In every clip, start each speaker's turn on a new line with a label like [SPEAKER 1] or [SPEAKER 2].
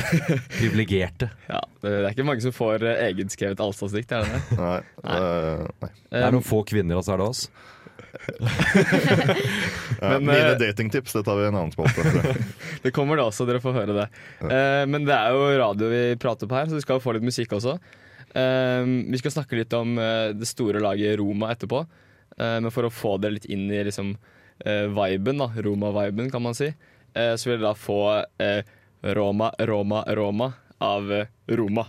[SPEAKER 1] Privilegerte.
[SPEAKER 2] ja, det er ikke mange som får eh, egenskrevet Alstadsdikt, er det det?
[SPEAKER 3] Nei, eh, nei.
[SPEAKER 1] Det er noen få kvinner, og så er det oss.
[SPEAKER 3] Ja,
[SPEAKER 2] Men,
[SPEAKER 3] mine
[SPEAKER 2] eh,
[SPEAKER 3] datingtips det tar vi i en annen spalte.
[SPEAKER 2] Det kommer det også, dere får høre det. Eh, Men det er jo radio vi prater på her, så vi skal få litt musikk også. Eh, Vi skal snakke litt om eh, det store laget Roma etterpå. Eh, Men for å få dere litt inn i liksom eh, viben, da, Roma-viben, kan man si, eh, så vil dere da få eh, Roma, Roma, Roma av eh, Roma.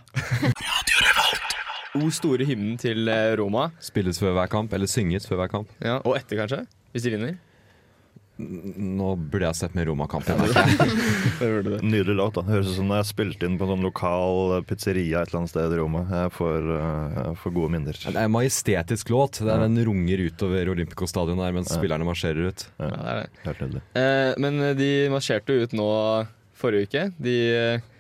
[SPEAKER 2] O store hymnen til eh, Roma.
[SPEAKER 1] Spilles før hver kamp, eller synges før hver kamp.
[SPEAKER 2] Ja, og etter, kanskje, hvis de vinner.
[SPEAKER 1] Nå burde jeg sett med Roma-kampen.
[SPEAKER 2] Da gjør de det.
[SPEAKER 3] Nydelig låt. da Høres ut som det er spilt inn på en sånn lokal pizzeria et eller annet sted i Roma. Jeg får, eh, jeg får gode minner.
[SPEAKER 1] Det er en majestetisk låt. Det er Den runger utover Olympico-stadion her mens spillerne marsjerer ut.
[SPEAKER 2] Ja, det er det.
[SPEAKER 3] Helt nydelig.
[SPEAKER 2] Eh, men de marsjerte jo ut nå forrige uke. De eh,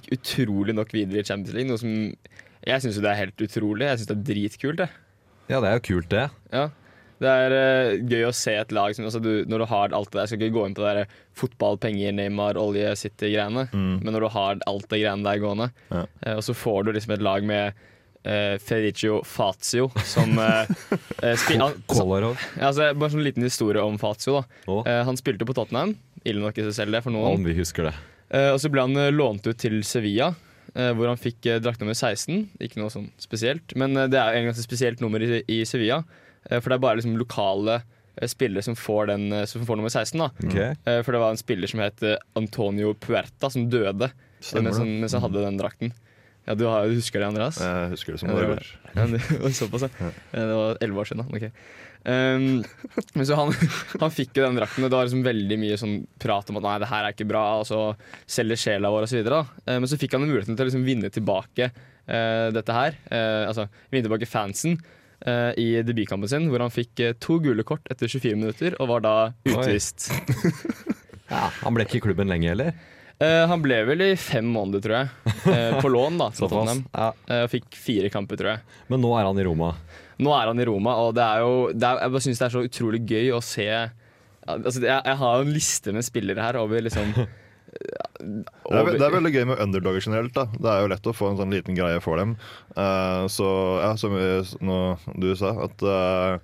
[SPEAKER 2] gikk utrolig nok videre i Champions League, noe som jeg syns jo det er helt utrolig. Jeg syns det er dritkult, jeg.
[SPEAKER 1] Ja, det er jo kult, det.
[SPEAKER 2] Ja. Det er eh, gøy å se et lag som altså, du, Når du har alt det der, jeg skal ikke gå inn på det der fotball, penger, Neymar, olje, City-greiene, men når du har alt det greiene der gående,
[SPEAKER 3] Ja.
[SPEAKER 2] eh, og så får du liksom et lag med eh, Federico Fazio som eh, eh, spi- han-
[SPEAKER 1] Kolarov.
[SPEAKER 2] ja, altså, Bare en sånn liten historie om Fazio. da
[SPEAKER 1] Å.
[SPEAKER 2] eh, Han spilte på Tottenham, ille nok i seg selv det for noen.
[SPEAKER 1] Om vi husker det.
[SPEAKER 2] Eh, og så ble han eh, lånt ut til Sevilla, eh, hvor han fikk eh, drakt nummer 16. Ikke noe sånn spesielt, men eh, det er jo en ganske spesielt nummer i, i Sevilla. eh, for det er bare liksom lokale eh, spillere som får, den, eh, som får nummer 16. da Eh, For det var en spiller som het eh, Antonio Puerta, som døde eh,
[SPEAKER 3] Stemmer
[SPEAKER 2] mens han,
[SPEAKER 3] det.
[SPEAKER 2] mens han hadde den drakten. Ja, du, har, du husker det, Andreas?
[SPEAKER 3] Jeg husker det som
[SPEAKER 2] Ja,
[SPEAKER 3] det
[SPEAKER 2] det
[SPEAKER 3] går.
[SPEAKER 2] Ja, det var såpass, ja. Eh, Det var elleve år siden, da. Ok. Ehm, men så han, han fikk jo den drakten, og det var liksom veldig mye sånn prat om at nei, det her er ikke bra, og så selger sjela vår, og så videre. da. Eh, Men så fikk han muligheten til å liksom vinne tilbake eh, dette her. eh, altså vinne tilbake fansen eh, i debutkampen sin, hvor han fikk eh, to gule kort etter 24 minutter, og var da utvist.
[SPEAKER 1] Ja, han ble ikke i klubben lenge heller.
[SPEAKER 2] Eh, han ble vel i fem måneder, tror jeg, eh, på lån da, til Tottenham.
[SPEAKER 1] Ja.
[SPEAKER 2] eh, og fikk fire kamper, tror jeg.
[SPEAKER 1] Men nå er han i Roma.
[SPEAKER 2] Nå er han i Roma, og det er jo det er, Jeg bare synes det er så utrolig gøy å se ja, altså, jeg, jeg har jo en liste med spillere her over liksom
[SPEAKER 3] Det er, ve- det er veldig gøy med underdogger generelt. da Det er jo lett å få en sånn liten greie for dem. Eh, så ja, som vi- nå du sa, at eh,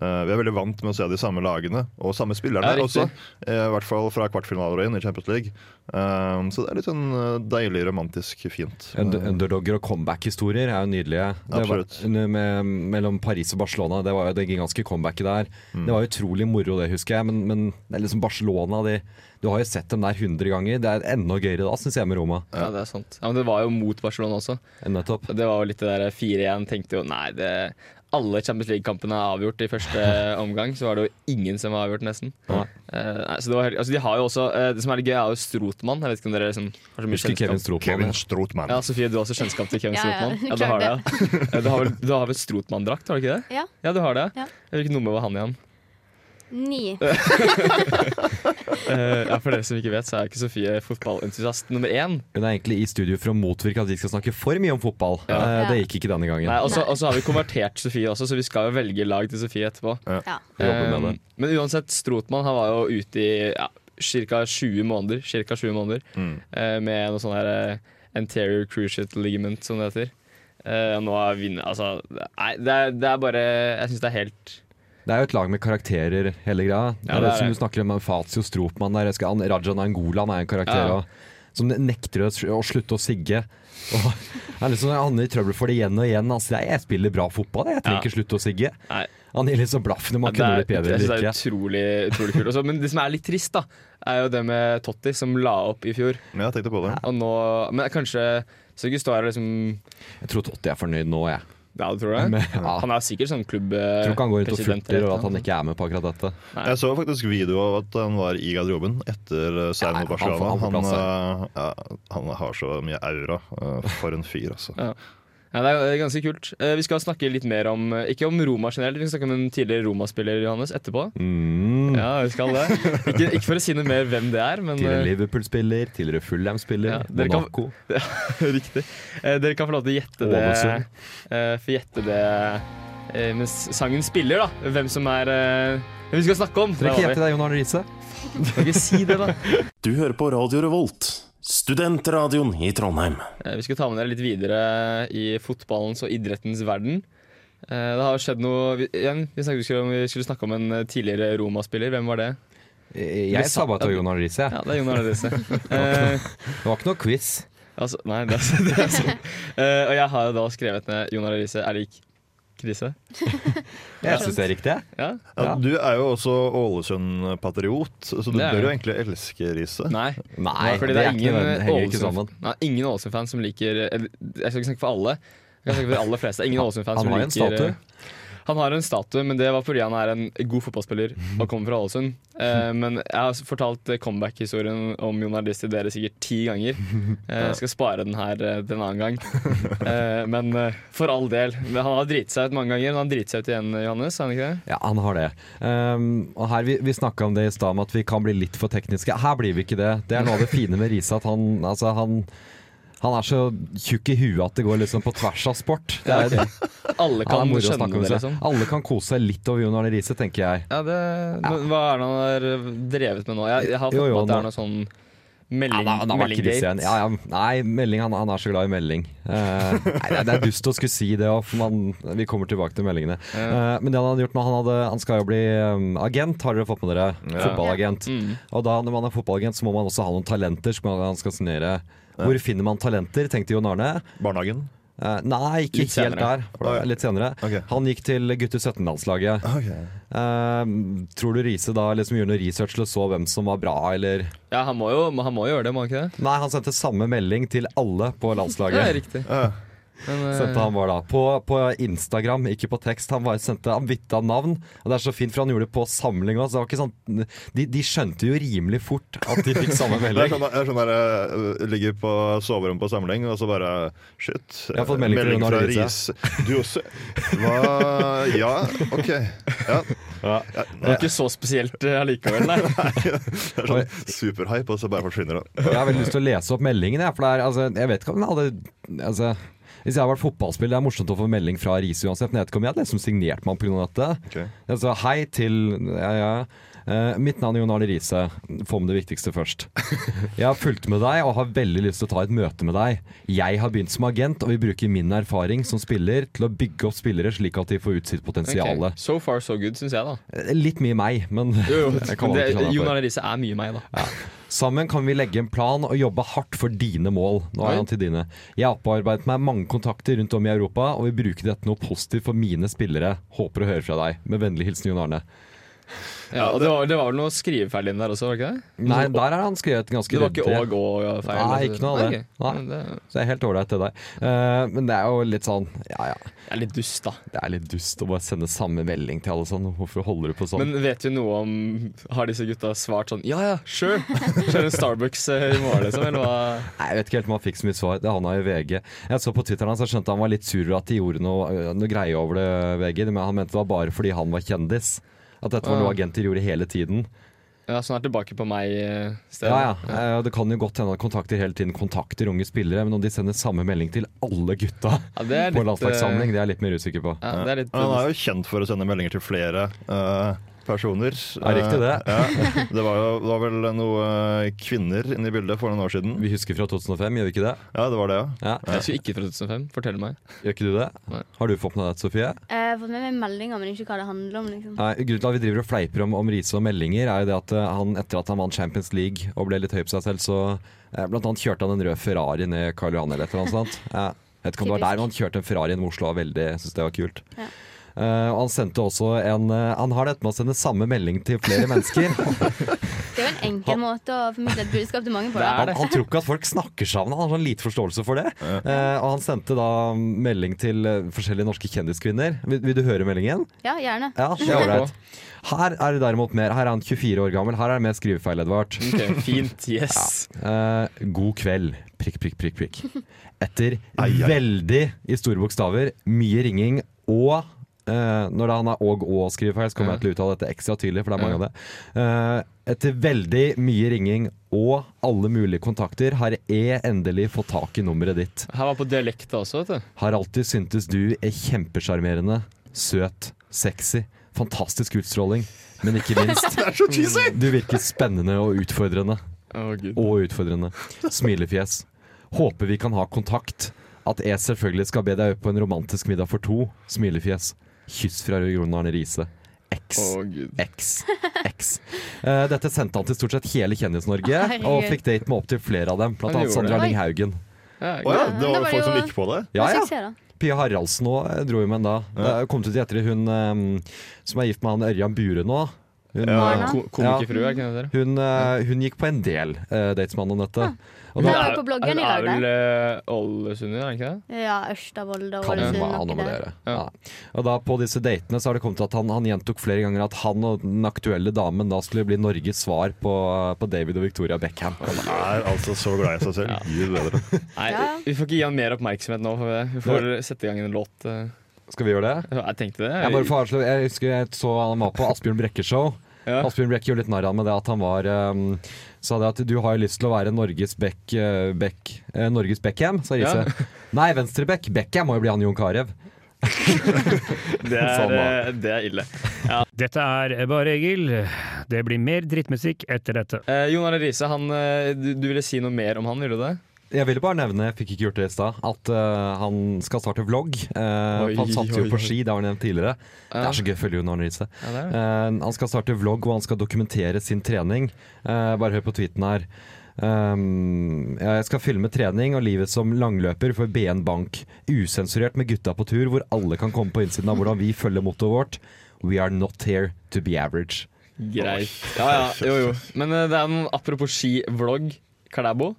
[SPEAKER 3] eh, vi er veldig vant med å se de samme lagene og samme spillerne
[SPEAKER 2] Ja, riktig.
[SPEAKER 3] også. eh, I hvert fall fra kvartfinaler og inn i Champions League. Eh, så det er litt sånn eh, deilig, romantisk fint.
[SPEAKER 1] Und underdogger og comeback-historier er jo nydelige. Det var,
[SPEAKER 3] Absolutt.
[SPEAKER 1] under- med, mellom Paris og Barcelona, det var jo det gigantiske comebacket der.
[SPEAKER 2] Mm.
[SPEAKER 1] Det var utrolig moro, det husker jeg. Men, men det er liksom Barcelona de, Du har jo sett dem der 100 ganger. Det er enda gøyere da, syns jeg, med Roma.
[SPEAKER 2] Ja, det er sant. Ja, men det var jo mot Barcelona også.
[SPEAKER 1] enn Nettopp.
[SPEAKER 2] Det var jo litt det der 4-1. Tenkte jo nei, det alle Champions League-kampene er avgjort i første omgang. Så var det jo ingen som var avgjort, nesten.
[SPEAKER 1] Nei.
[SPEAKER 2] Eh, nei, så det, var helt, altså, de har jo også, eh, det som er litt gøy, er jo Strotmann. Jeg vet ikke om dere liksom, har så mye
[SPEAKER 1] Husker Kevin
[SPEAKER 2] kjennskap.
[SPEAKER 1] Stropan.
[SPEAKER 3] Kevin Strootman.
[SPEAKER 2] Ja, Sofie, du har også kjennskap til Kevin
[SPEAKER 4] Ja, ja,
[SPEAKER 2] Strotmann. Ja, du har det, ja. Eh, Du har vel, du har vel Strotmann-drakt, har du ikke det?
[SPEAKER 4] Ja.
[SPEAKER 2] Ja, du har det.
[SPEAKER 4] Ja.
[SPEAKER 2] Hvilket nummer var han igjen?
[SPEAKER 4] Ni.
[SPEAKER 2] Eh, ja, for dere som ikke vet, så er ikke Sofie fotballentusiast nummer én.
[SPEAKER 1] Hun er egentlig i studio for å motvirke at vi skal snakke for mye om fotball. Eh, Det gikk ikke denne gangen.
[SPEAKER 2] Nei, altså, Og så
[SPEAKER 4] Nei.
[SPEAKER 2] og så har vi konvertert Sofie også, så vi skal jo velge lag til Sofie etterpå.
[SPEAKER 4] Ja.
[SPEAKER 1] Jobber med det.
[SPEAKER 2] Eh, Men uansett, Strotmann han var jo ute i ja, ca. 20 måneder, cirka 20 måneder
[SPEAKER 1] Mm.
[SPEAKER 2] eh, med noe sånn her eh, anterior cruciate ligament, som det heter. Eh, og nå er vinner Altså, nei, det er, det er bare Jeg syns det er helt
[SPEAKER 1] Eh, Det er jo et lag med karakterer, hele greia.
[SPEAKER 2] Ja,
[SPEAKER 1] det
[SPEAKER 2] det
[SPEAKER 1] er
[SPEAKER 2] er
[SPEAKER 1] som
[SPEAKER 2] det.
[SPEAKER 1] du snakker om Fatio Stropmann der. jeg Skal, han, Raja Nangolan er en karakter
[SPEAKER 2] Ja.
[SPEAKER 1] og- som nekter å, å slutte å sigge. Og, han er liksom, han er i trøbbel for det igjen og igjen. Han sier jeg spiller bra fotball, jeg trenger
[SPEAKER 2] Ja.
[SPEAKER 1] ikke slutte å sigge.
[SPEAKER 2] Nei.
[SPEAKER 1] Han gir liksom blaffen om han
[SPEAKER 2] det
[SPEAKER 1] kunne
[SPEAKER 2] er,
[SPEAKER 1] blitt bedre
[SPEAKER 2] jeg synes
[SPEAKER 1] eller
[SPEAKER 2] det er
[SPEAKER 1] ikke.
[SPEAKER 2] utrolig, utrolig kult. Også, men det som er litt trist, da, er jo det med Totti, som la opp i fjor.
[SPEAKER 3] Ja, jeg tenkte på det.
[SPEAKER 2] Og nå Men kanskje Så Gustav er liksom
[SPEAKER 1] Jeg tror Totti er fornøyd nå, jeg.
[SPEAKER 2] Ja, du tror det?
[SPEAKER 1] Men, ja.
[SPEAKER 2] Han er sikkert sånn klubb...
[SPEAKER 1] Jeg tror ikke han går rundt og furter og at han ikke er med på akkurat dette.
[SPEAKER 3] Jeg så faktisk video av at han var i garderoben etter eh,
[SPEAKER 1] Ja,
[SPEAKER 3] seieren
[SPEAKER 1] han
[SPEAKER 3] mot
[SPEAKER 1] får-
[SPEAKER 3] Barcelona.
[SPEAKER 1] han får
[SPEAKER 3] Han,
[SPEAKER 1] plass
[SPEAKER 3] eh, ja, han har så mye aura. eh, For en fyr, altså.
[SPEAKER 2] Ja. Ja, det er ganske kult. Eh, Vi skal snakke litt mer om eh, Ikke om Roma generelt, vi skal snakke om en tidligere Roma-spiller, Johannes, etterpå.
[SPEAKER 1] Mm.
[SPEAKER 2] Ja, vi skal det. Ikke, ikke for å si noe mer hvem det er, men
[SPEAKER 1] Tidligere
[SPEAKER 2] eh,
[SPEAKER 1] Liverpool-spiller, tidligere Fulham-spiller,
[SPEAKER 2] Ja, dere kan-
[SPEAKER 1] Monaco.
[SPEAKER 2] Riktig. Eh, Dere kan få lov til å gjette det,
[SPEAKER 1] Ålesund.
[SPEAKER 2] eh, få gjette det eh, mens sangen spiller, da. Hvem som er eh, Hvem vi skal snakke om.
[SPEAKER 1] Dere
[SPEAKER 2] Der
[SPEAKER 1] kan
[SPEAKER 2] var
[SPEAKER 1] gjette
[SPEAKER 2] vi.
[SPEAKER 1] det, Jon Arne Riise.
[SPEAKER 2] Kan ikke si det, da.
[SPEAKER 5] Du hører på Radio Revolt, studentradioen i Trondheim.
[SPEAKER 2] Eh, Vi skal ta med dere litt videre i fotballens og idrettens verden. Eh, Det har skjedd noe vi- igjen, Vi snakket vi skulle, om, vi skulle snakke om en eh, tidligere Roma-spiller. Hvem var det?
[SPEAKER 1] Eh, Jeg sa bare at det var Jon Arne Riise. jeg.
[SPEAKER 2] Ja, det er Jon Arne Riise. Eh,
[SPEAKER 1] Det var ikke noe quiz.
[SPEAKER 2] altså, nei, det er, det er sånn. Eh, og jeg har jo da skrevet ned Jon Arne Riise er lik krise.
[SPEAKER 1] Jeg syns det er riktig. jeg.
[SPEAKER 2] Ja?
[SPEAKER 3] Ja, du er jo også Ålesund-patriot, så du
[SPEAKER 2] Det er
[SPEAKER 3] bør
[SPEAKER 2] jeg.
[SPEAKER 3] jo egentlig elske riset.
[SPEAKER 2] Nei.
[SPEAKER 1] Nei,
[SPEAKER 2] fordi det er
[SPEAKER 1] ikke
[SPEAKER 2] ingen
[SPEAKER 1] nødvendig- henger ikke
[SPEAKER 2] Ålesund-
[SPEAKER 1] sammen.
[SPEAKER 2] Nei, ingen Ålesund-fan som liker eller, Jeg skal ikke snakke for alle. Jeg kan snakke for de aller fleste. Ingen Ålesund-fan
[SPEAKER 1] Han
[SPEAKER 2] som
[SPEAKER 1] har en
[SPEAKER 2] Altså, liker eh,
[SPEAKER 1] statue.
[SPEAKER 2] Han har en statue, men det var fordi han er en god fotballspiller og kommer fra Ålesund. Eh, men jeg har fortalt eh, comeback-historien om Jon Ardis til dere sikkert ti ganger. Eh, jeg skal spare den her eh, til en annen gang. Eh, men eh, for all del. Men han har driti seg ut mange ganger. Men han driter seg ut igjen, Johannes. Har han ikke det?
[SPEAKER 1] Ja, han har det. Um, og her, Vi, vi snakka om det i stad, om at vi kan bli litt for tekniske. Her blir vi ikke det. Det er noe av det fine med Riise, at han, altså, han han er så tjukk i huet at det går liksom på tvers av sport. Det er,
[SPEAKER 2] Alle
[SPEAKER 1] han er
[SPEAKER 2] kan
[SPEAKER 1] moro å snakke
[SPEAKER 2] skjønne
[SPEAKER 1] om.
[SPEAKER 2] det, liksom.
[SPEAKER 1] seg. Alle kan kose seg litt over Jon Arne Riise, tenker jeg.
[SPEAKER 2] Ja, det, men Hva er det han har eh, drevet med nå? Jeg, jeg har fått
[SPEAKER 1] Jo, jo,
[SPEAKER 2] med at det
[SPEAKER 1] nå-
[SPEAKER 2] er noe sånn melding,
[SPEAKER 1] Ja, han har vært krise igjen.
[SPEAKER 2] meldinggate.
[SPEAKER 1] Ja, ja, nei, melding, han, han er så glad i melding. Eh, nei, det er- det er dust å skulle si det også, for man, vi kommer tilbake til meldingene. Eh, men det han hadde gjort nå, han, hadde, han skal jo bli eh, agent, har dere fått med dere? Fotballagent.
[SPEAKER 2] Mm.
[SPEAKER 1] Og da når man er fotballagent, så må man også ha noen talenter som man skal signere. Hvor finner man talenter, tenkte Jon Arne.
[SPEAKER 3] Barnehagen.
[SPEAKER 1] Eh, nei, ikke
[SPEAKER 2] Litt
[SPEAKER 1] helt
[SPEAKER 2] senere.
[SPEAKER 1] der. For det er litt senere.
[SPEAKER 3] Ok.
[SPEAKER 1] Han gikk til gutter 17-landslaget. Eh, tror du Riise da liksom gjorde noe research til å så hvem som var bra, eller
[SPEAKER 2] Ja, han må jo, han må jo gjøre det, må han ikke det?
[SPEAKER 1] Nei, han sendte samme melding til alle på
[SPEAKER 2] Ja,
[SPEAKER 1] landslaget.
[SPEAKER 2] riktig.
[SPEAKER 3] Ja.
[SPEAKER 2] Men, eh,
[SPEAKER 1] Sendte han var da på, på Instagram, ikke på tekst. Han bare sendte Han bytta navn. Og Det er så fint, for han gjorde det på samling òg. Sånn, de, de skjønte jo rimelig fort at de fikk samme
[SPEAKER 3] Det er
[SPEAKER 1] melding.
[SPEAKER 3] sånn, det er sånn der, eh, ligger på soverommet på samling, og så bare Shit.
[SPEAKER 1] har fått melding fra Jon Arne Riise.
[SPEAKER 3] Du også? Hva Ja, OK. Ja. Ja,
[SPEAKER 2] det
[SPEAKER 3] nei,
[SPEAKER 2] er ikke så spesielt eh, allikevel, nei.
[SPEAKER 3] det er sånn superhype, og så bare forsvinner det.
[SPEAKER 1] Jeg har veldig lyst til å lese opp meldingen. Jeg, for det er, altså, jeg vet ikke om den hadde altså, Hvis jeg hadde vært fotballspiller, det er morsomt å få melding fra Riise uansett, men jeg vet ikke om jeg hadde liksom signert meg pga. dette.
[SPEAKER 3] Ok.
[SPEAKER 1] Altså, hei til ja, ja. Eh, mitt navn er Jon Arne Riise. Få med det viktigste først. Jeg har fulgt med deg og har veldig lyst til å ta et møte med deg. Jeg har begynt som agent og vil bruke min erfaring som spiller til å bygge opp spillere slik at de får ut sitt potensial.
[SPEAKER 2] Ok, So far so good, syns jeg, da.
[SPEAKER 1] Eh, Litt mye meg, men
[SPEAKER 2] Jo, jo.
[SPEAKER 1] jeg kan
[SPEAKER 2] Men det,
[SPEAKER 1] ikke kalle meg
[SPEAKER 2] Jon
[SPEAKER 1] for.
[SPEAKER 2] Arne Riise er mye meg, da.
[SPEAKER 1] Sammen kan vi legge en plan og jobbe hardt for dine mål. Nå
[SPEAKER 2] Oi.
[SPEAKER 1] er han til dine. Jeg har opparbeidet meg mange kontakter rundt om i Europa og vil bruke dette noe positivt for mine spillere. Håper å høre fra deg. Med vennlig hilsen Jon Arne.
[SPEAKER 2] Ja, og det, var, det var vel noe skrivefeil inn der også, var det ikke det?
[SPEAKER 1] Nei, der har han skrevet ganske
[SPEAKER 2] Det var ikke og
[SPEAKER 1] ryddig.
[SPEAKER 2] og feil?
[SPEAKER 1] Nei,
[SPEAKER 2] altså.
[SPEAKER 1] ikke noe av det.
[SPEAKER 2] ok.
[SPEAKER 1] Nei.
[SPEAKER 2] Men Det
[SPEAKER 1] Så jeg er helt ålreit til deg. Eh, men det er jo litt sånn Ja ja,
[SPEAKER 2] det er litt dust, da.
[SPEAKER 1] det er litt dust å bare sende samme melding til alle sånn. Hvorfor holder du på sånn?
[SPEAKER 2] Men vet vi noe om Har disse gutta svart sånn Ja ja, sure! Kjører en Starbucks eh, i morgen, liksom? Eller hva?
[SPEAKER 1] Nei, jeg vet ikke helt om han fikk så mye svar. Det havna i VG. Jeg så på Twitteren hans og skjønte øh, han var litt sur over at de gjorde noe, noe greie over det, VG. Men han mente det var bare fordi han var kjendis. At dette var noe agenter gjorde hele tiden.
[SPEAKER 2] Ja, så han er tilbake på meg-stedet.
[SPEAKER 1] Ja, ja. Eh, og Det kan jo godt hende at kontakter hele tiden kontakter unge spillere, men om de sender samme melding til alle gutta
[SPEAKER 2] Ja, det er litt,
[SPEAKER 1] på
[SPEAKER 2] eh,
[SPEAKER 1] landslagssamling, det er jeg litt mer usikker på.
[SPEAKER 2] Ja, det er litt
[SPEAKER 3] Han er jo kjent for å sende meldinger til flere eh, personer.
[SPEAKER 1] Ja, riktig det.
[SPEAKER 3] Eh, ja. Det var jo det var vel noen kvinner inne i bildet for noen år siden.
[SPEAKER 1] Vi husker fra 2005, gjør vi ikke det?
[SPEAKER 3] Ja, det var det, ja.
[SPEAKER 1] Ja.
[SPEAKER 2] Jeg husker ikke fra 2005. Fortell meg.
[SPEAKER 1] Gjør ikke du det?
[SPEAKER 2] Nei.
[SPEAKER 1] Har du fått med deg det, Sofie?
[SPEAKER 4] Eh, Jeg har fått med meg meldinger, men ikke hva det handler om. liksom
[SPEAKER 1] Nei, grunnen til at vi driver og fleiper om, om Riise og meldinger, er jo det at eh, han etter at han vant Champions League og ble litt høy på seg selv, så eh, blant annet kjørte han en rød Ferrari ned Karl Johan eller et eller annet sånt. Ja. Jeg vet ikke om det var der, men han kjørte en Ferrari gjennom Oslo og var veldig, jeg synes det var kult.
[SPEAKER 4] Ja.
[SPEAKER 1] Eh, og han sendte også en eh, Han har dette med å sende samme melding til flere mennesker.
[SPEAKER 4] Det er jo en enkel måte å formidle et budskap til mange på. da.
[SPEAKER 1] Han, han tror ikke at folk snakker sammen, han har sånn lite forståelse for det. Eh, og han sendte da melding til eh, forskjellige norske kjendiskvinner. Vil, vil du høre meldingen?
[SPEAKER 4] Ja, gjerne.
[SPEAKER 1] Ja, det er ålreit. Her er det derimot mer. Her er han 24 år gammel. Her er det mer skrivefeil, Edvard.
[SPEAKER 2] Ok, Fint. Yes.
[SPEAKER 1] Eh, god kveld. Prikk, prikk, prikk, prikk. Etter veldig, i store bokstaver, mye ringing og eh, Når det han er og og skrivefeil, så kommer jeg til å uttale dette ekstra tydelig, for det er mange av det. Eh, etter veldig mye ringing og alle mulige kontakter har jeg endelig fått tak i nummeret ditt.
[SPEAKER 2] Her var på dialekta også, vet du.
[SPEAKER 1] Har alltid syntes du er kjempesjarmerende, søt, sexy, fantastisk utstråling, men ikke minst
[SPEAKER 3] Det er så cheesy!
[SPEAKER 1] Du virker spennende og utfordrende.
[SPEAKER 2] Å, Gud.
[SPEAKER 1] Og utfordrende. Smilefjes. Håper vi kan ha kontakt. At jeg selvfølgelig skal be deg på en romantisk middag for to. Smilefjes. Kyss fra Jon Arne Riise. X.
[SPEAKER 2] Å, Gud.
[SPEAKER 1] X, X. Eh, dette sendte han til stort sett hele Kjendis-Norge, og
[SPEAKER 4] Herregud.
[SPEAKER 1] fikk date med opptil flere av dem, blant
[SPEAKER 2] Han
[SPEAKER 1] annet
[SPEAKER 2] gjorde
[SPEAKER 1] Sandra
[SPEAKER 4] det.
[SPEAKER 1] Lyng Haugen.
[SPEAKER 2] Ja,
[SPEAKER 3] Å ja,
[SPEAKER 4] Da
[SPEAKER 3] det var
[SPEAKER 4] var
[SPEAKER 3] jo folk
[SPEAKER 4] jo-
[SPEAKER 3] som gikk på det?
[SPEAKER 1] Ja,
[SPEAKER 4] Hva
[SPEAKER 1] ja.
[SPEAKER 4] skal jeg se, da?
[SPEAKER 1] Pia Haraldsen òg dro jo med en da. Det kom ut etter hun eh, som er gift med han Ørjan Bure nå. Hun,
[SPEAKER 3] Ja.
[SPEAKER 4] Barna.
[SPEAKER 2] Ko Komikerfrue, er ikke det dere?
[SPEAKER 1] hun, eh, hun gikk på en del eh, dates med han og Nette. Og
[SPEAKER 4] Det
[SPEAKER 1] da,
[SPEAKER 4] var jo på bloggen i
[SPEAKER 2] Hun
[SPEAKER 4] dag,
[SPEAKER 2] er vel eh, ålesunder, er hun ikke det?
[SPEAKER 4] Ja, Ørsta, Volda,
[SPEAKER 1] kan
[SPEAKER 4] Ålesund.
[SPEAKER 1] man
[SPEAKER 4] noe der.
[SPEAKER 1] annullere. Ja. Og da på disse datene så har det kommet til at han, han gjentok flere ganger at han og den aktuelle damen da skulle bli Norges svar på, på David og Victoria Beckham.
[SPEAKER 3] Han er altså så glad i seg selv. Gud bedre.
[SPEAKER 2] Nei,
[SPEAKER 4] Ja.
[SPEAKER 2] Vi får ikke gi han mer oppmerksomhet nå. For vi får sette i gang en låt. eh.
[SPEAKER 1] Skal vi gjøre det?
[SPEAKER 2] Jeg tenkte det.
[SPEAKER 1] Jeg bare får avsløre, jeg husker jeg så han var på Asbjørn Brekke-show.
[SPEAKER 2] Ja.
[SPEAKER 1] Asbjørn Brekke gjorde litt narr av med det at han var um, Sa det at du har jo lyst til å være Norges Beck, eh, Beck eh, Norges Beckham, sa Riise. Nei, Venstrebekk. Beckham må jo bli han Jon Carew.
[SPEAKER 2] det, er,
[SPEAKER 1] Sånn da.
[SPEAKER 2] eh, det er ille.
[SPEAKER 6] Dette er Bare Egil. Det blir mer drittmusikk etter dette.
[SPEAKER 2] Eh, Jon Arne Riise, han, eh, du, du ville si noe mer om han, ville du det?
[SPEAKER 1] Jeg ville bare nevne, jeg fikk ikke gjort det i stad, at eh, han skal starte vlogg. Eh,
[SPEAKER 2] Oi,
[SPEAKER 1] han satser jo
[SPEAKER 2] oi,
[SPEAKER 1] på
[SPEAKER 2] oi.
[SPEAKER 1] ski, det har han nevnt tidligere. Det er så gøy å følge Jon Arne Riise.
[SPEAKER 2] Ja, det er det.
[SPEAKER 1] Eh, han skal starte vlogg hvor han skal dokumentere sin trening. Eh, bare hør på tweeten her. Um, ja, jeg skal filme trening og livet som langløper for BN Bank. Usensurert med gutta på tur, hvor alle kan komme på innsiden av hvordan vi følger mottoet vårt. We are not here to be average.
[SPEAKER 2] Greit. Ja, ja, jo, jo. Men eh, det er noen apropos ski-vlogg. Klæbo.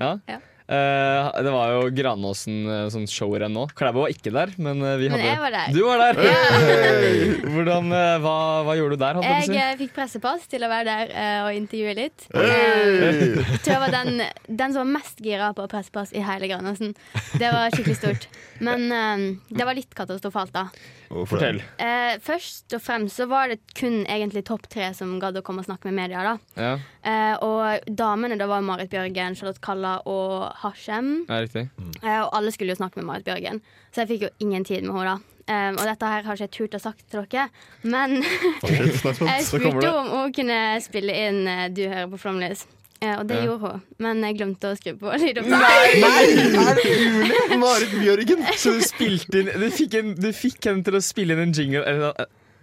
[SPEAKER 2] Ja.
[SPEAKER 4] Ja.
[SPEAKER 2] Eh, det var jo Granåsen eh, sånn showrenn nå. Klæbo var ikke der, men eh, vi
[SPEAKER 4] Men
[SPEAKER 2] hadde
[SPEAKER 4] jeg var der.
[SPEAKER 2] Du var der! Hey! Hvordan, eh, hva, hva gjorde du der? Holdt jeg
[SPEAKER 4] Jeg
[SPEAKER 2] på å si?
[SPEAKER 4] eh, fikk pressepass til å være der eh, og intervjue litt. Eh,
[SPEAKER 3] Hey!
[SPEAKER 4] Jeg tror jeg var den, den som var mest gira på pressepass i hele Granåsen. Det var skikkelig stort. Men eh, det var litt katastrofalt, da.
[SPEAKER 3] Hvorfor det?
[SPEAKER 2] Fortell.
[SPEAKER 4] Eh, først og fremst så var det kun egentlig topp tre som gadd å komme og snakke med media. da
[SPEAKER 2] Ja,
[SPEAKER 4] Eh, og damene da var Marit Bjørgen, Charlotte Kalla og Hashem.
[SPEAKER 2] det er riktig.
[SPEAKER 3] Mm.
[SPEAKER 4] Eh, og alle skulle jo snakke med Marit Bjørgen, så jeg fikk jo ingen tid med henne da. Eh, og dette her har ikke jeg turt å sagt til dere, men
[SPEAKER 3] Shit, snakk sånn.
[SPEAKER 4] jeg
[SPEAKER 3] Så kommer
[SPEAKER 4] spurte jo om hun kunne spille inn eh, 'Du hører på Flomlys'. Eh, og det
[SPEAKER 2] Ja.
[SPEAKER 4] gjorde hun, men jeg glemte å skru på lydopptaket.
[SPEAKER 3] det. Marit Bjørgen!
[SPEAKER 2] Så du spilte inn Du fikk, en, du fikk henne til å spille inn en jingle? Eller,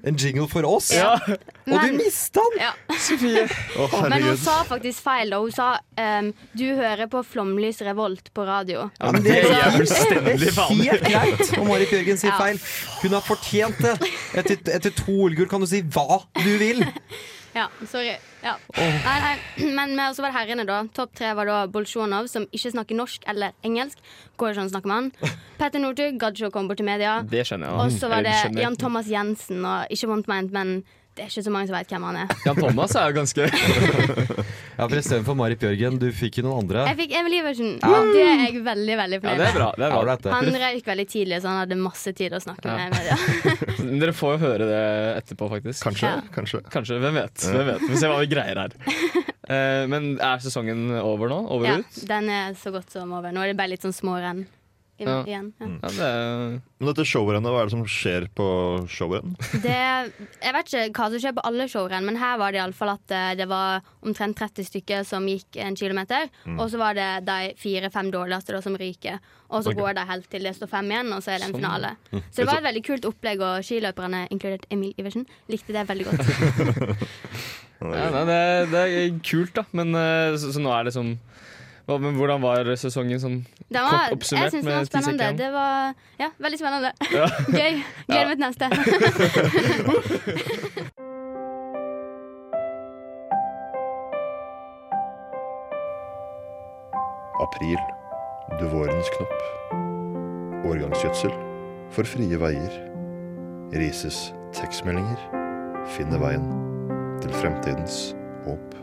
[SPEAKER 1] En jingle for oss!
[SPEAKER 2] ja.
[SPEAKER 1] Og du
[SPEAKER 4] Men-
[SPEAKER 1] mista den!
[SPEAKER 4] Ja.
[SPEAKER 2] Sofie!
[SPEAKER 3] Å,
[SPEAKER 4] Men hun
[SPEAKER 3] herregud.
[SPEAKER 4] sa faktisk feil, da. Hun sa ehm, 'Du hører på Flomlys Revolt' på radio.
[SPEAKER 2] Ja, men det er fullstendig faen.
[SPEAKER 1] Helt greit om Marit Bjørgen sier
[SPEAKER 4] Ja.
[SPEAKER 1] feil. Hun har fortjent det. Etter, etter to OL-gull kan du si hva du vil.
[SPEAKER 4] Ja, sorry. Ja. Nei, nei. Men med- så var det herrene, da. Topp tre var da Bolsjunov, som ikke snakker norsk eller engelsk. Går ikke an å snakke med han. Petter Northug gadd ikke å komme bort til media.
[SPEAKER 2] Det skjønner jeg. da.
[SPEAKER 4] Og så var
[SPEAKER 2] Eller,
[SPEAKER 4] det
[SPEAKER 2] skjønner.
[SPEAKER 4] Jan Thomas Jensen og ikke One Mind, men Det er ikke så mange som veit hvem han er.
[SPEAKER 2] Jan Thomas er jo ganske
[SPEAKER 1] Ja, for Istedenfor Marit Bjørgen, du fikk jo noen andre.
[SPEAKER 4] Jeg fikk Emil Iversen. Det er jeg veldig,
[SPEAKER 2] Ja,
[SPEAKER 4] veldig
[SPEAKER 2] det er
[SPEAKER 4] fornøyd med.
[SPEAKER 2] bra. Det er bra.
[SPEAKER 1] Alright, det.
[SPEAKER 4] Han røyk veldig tidlig, så han hadde masse tid å snakke
[SPEAKER 2] Ja.
[SPEAKER 4] med media.
[SPEAKER 2] Dere får jo høre det etterpå, faktisk.
[SPEAKER 3] Kanskje.
[SPEAKER 4] Ja.
[SPEAKER 3] kanskje.
[SPEAKER 2] Kanskje, hvem vet? Hvem vet? Vi får se hva vi greier her. Eh, men er sesongen over nå? Over og
[SPEAKER 4] Ja,
[SPEAKER 2] ut?
[SPEAKER 4] den er så godt som over. Nå er det bare litt sånn smårenn i-
[SPEAKER 2] Ja.
[SPEAKER 4] igjen. Ja.
[SPEAKER 2] Ja, det er-
[SPEAKER 3] Men dette showrennet, hva er det som skjer på showrenn?
[SPEAKER 4] Det, jeg vet ikke hva som skjer på alle showrenn, men her var det iallfall at eh, det var omtrent 30 stykker som gikk en kilometer. Og så var det de fire-fem dårligste da, som ryker. Og så
[SPEAKER 3] Ok.
[SPEAKER 4] går de helt til det står fem igjen, og så er det en
[SPEAKER 2] Sånn.
[SPEAKER 4] finale. Så det var et veldig kult opplegg, og skiløperne, inkludert Emil Iversen, likte det veldig godt.
[SPEAKER 2] ja, nei, det, det er kult, da. Men eh, så, så nå er det sånn Hva- Men hvordan var sesongen sånn?
[SPEAKER 4] Den var,
[SPEAKER 2] Kort oppsummert
[SPEAKER 4] jeg synes den
[SPEAKER 2] med
[SPEAKER 4] var
[SPEAKER 2] ti
[SPEAKER 4] spennende.
[SPEAKER 2] sekunder.
[SPEAKER 4] Det var ja, veldig spennende. Gøy. Gleder meg til neste.
[SPEAKER 3] April. Du vårens knopp. Årgangsgjødsel. For frie veier. Rises tekstmeldinger. Finne veien til fremtidens håp.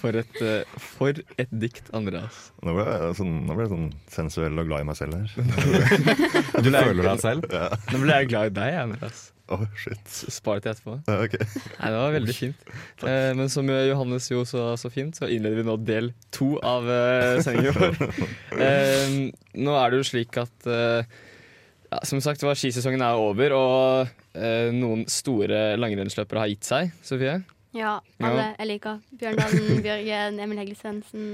[SPEAKER 2] For et, eh, for et dikt, Andreas.
[SPEAKER 3] Nå ble jeg sånn, nå ble jeg sånn sensuell og glad i meg selv her.
[SPEAKER 1] Du føler deg selv?
[SPEAKER 2] Nå ble jeg glad i deg, Andreas.
[SPEAKER 3] Åh, shit.
[SPEAKER 2] Spar det til etterpå.
[SPEAKER 3] Ja, ok.
[SPEAKER 2] Nei, det var veldig fint. Eh, men som Johannes jo sa så fint, så innleder vi nå del to av eh, sendingen vår. eh, nå er det jo slik at eh, ja, Som sagt, var skisesongen er over, og eh, noen store langrennsløpere har gitt seg, Sofie.
[SPEAKER 4] Ja, alle jeg liker. Bjørndalen, Bjørgen, Emil Heggesensen.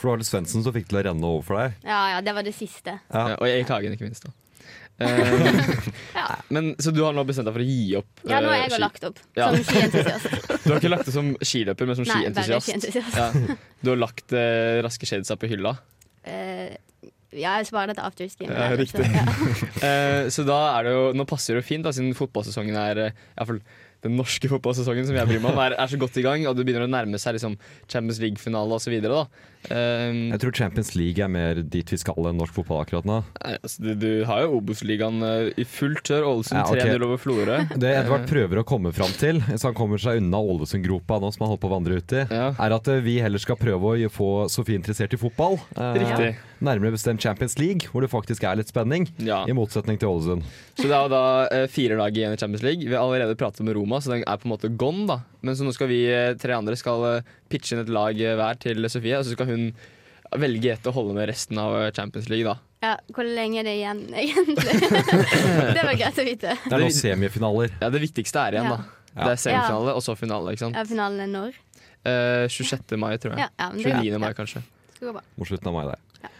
[SPEAKER 1] For det var det Svendsen som fikk til å renne over for deg.
[SPEAKER 4] Ja ja, det var det siste.
[SPEAKER 1] Ja.
[SPEAKER 2] Eh, og Erik Hagen, ikke minst. da Eh,
[SPEAKER 4] Ja.
[SPEAKER 2] men, så du har nå bestemt deg for å gi opp
[SPEAKER 4] Ja, nå
[SPEAKER 2] eh,
[SPEAKER 4] har jeg
[SPEAKER 2] ski?
[SPEAKER 4] jo lagt opp
[SPEAKER 2] Ja.
[SPEAKER 4] som skientusiast.
[SPEAKER 2] Du har ikke lagt det som skiløper, men som
[SPEAKER 4] Nei, bare
[SPEAKER 2] skientusiast.
[SPEAKER 4] skientusiast.
[SPEAKER 2] Ja. Du har lagt eh, raske shadesa på hylla.
[SPEAKER 4] Eh, ja, jeg sparer det til afterski.
[SPEAKER 2] Ja, riktig. Eh, så da er det jo, nå passer det jo fint, da, siden fotballsesongen er eh, i hvert fall den norske fotballsesongen som jeg bryr meg om, er, er så godt i gang, og det begynner å nærme seg liksom, Champions League-finale osv. Uh,
[SPEAKER 1] Jeg tror Champions League er mer dit vi skal enn norsk fotball akkurat nå.
[SPEAKER 2] altså, du, du har jo Obos-ligaen eh, i fullt kjør. Ålesund
[SPEAKER 1] Ja, ok.
[SPEAKER 2] 3-0 over Florø.
[SPEAKER 1] Det Edvard prøver å komme fram til, så han kommer seg unna Ålesundgropa nå som han holder på å vandre ut i,
[SPEAKER 2] Ja.
[SPEAKER 1] er at eh, vi heller skal prøve å få Sofie interessert i fotball. Eh,
[SPEAKER 2] Riktig.
[SPEAKER 1] Nærmere bestemt Champions League, hvor det faktisk er litt spenning.
[SPEAKER 2] Ja.
[SPEAKER 1] I motsetning til Ålesund.
[SPEAKER 2] Så det er jo da eh, fire lag igjen i Champions League. Vi har allerede pratet med Roma, så den er på en måte gone. da Men så nå skal vi eh, tre andre skal eh, pitche inn et lag eh, hver til Sofie, og så skal hun velge ett å holde med resten av eh, Champions League. da
[SPEAKER 4] Ja, hvor lenge er det igjen, egentlig? det var greit å vite.
[SPEAKER 1] Det er nå semifinaler.
[SPEAKER 2] Ja, Det viktigste er igjen,
[SPEAKER 4] Ja.
[SPEAKER 2] da. Det er semifinale og så finale. ikke sant?
[SPEAKER 4] Ja, finalen er når?
[SPEAKER 2] Eh, 26. mai, tror jeg.
[SPEAKER 4] Ja, ja, men det
[SPEAKER 2] 29. mai,
[SPEAKER 4] ja,
[SPEAKER 2] kanskje.
[SPEAKER 4] skal gå bra.
[SPEAKER 1] Mot slutten av mai der.